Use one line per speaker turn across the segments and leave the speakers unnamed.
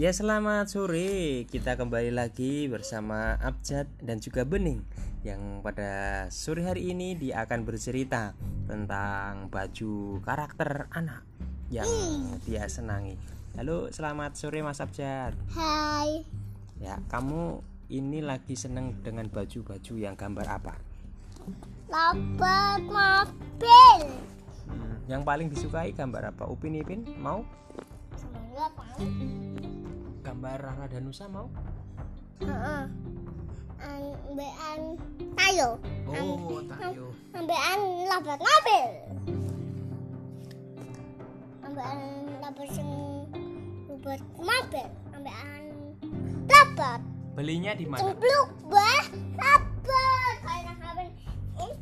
Ya selamat sore, kita kembali lagi bersama Abjad dan juga Bening Yang pada sore hari ini dia akan bercerita tentang baju karakter anak yang dia senangi Halo selamat sore Mas Abjad
Hai,
Ya kamu ini lagi seneng dengan baju-baju yang gambar apa?
lambat mobil.
Hmm, Yang paling disukai gambar apa? Upin Ipin mau?
Semoga kan?
Gambar Rara Danusa mau?
Heeh. Ambean tayo.
Oh Tayo
Ambean lambat mobil. Ambean lambat sing lambat mobil. Ambean lambat.
Belinya di mana?
Cempluk bah lambat. Karena kapan itu Eh,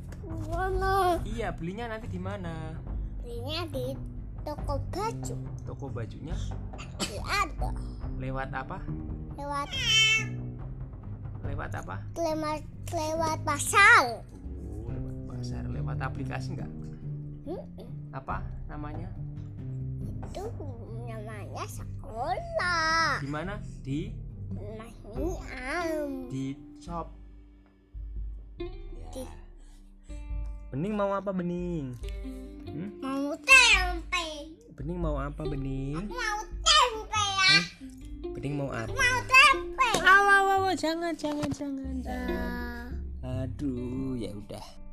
warna.
Iya, belinya nanti di mana?
Belinya di toko baju.
Toko bajunya
Di ada
lewat apa?
lewat
Lewat apa?
lewat lewat pasar.
Oh, lewat pasar, lewat aplikasi enggak?
Hmm.
Apa namanya?
itu namanya sekolah
Di mana? Di
masih am
di shop.
Di-
Bening mau apa Bening? Hmm?
mau tempe
Bening mau apa Bening?
mau tempe ya
Bening mau apa?
mau tempe 呃
Aw, aw, aw, aw, jangan, jangan, jangan. jangan. Aduh, ya udah.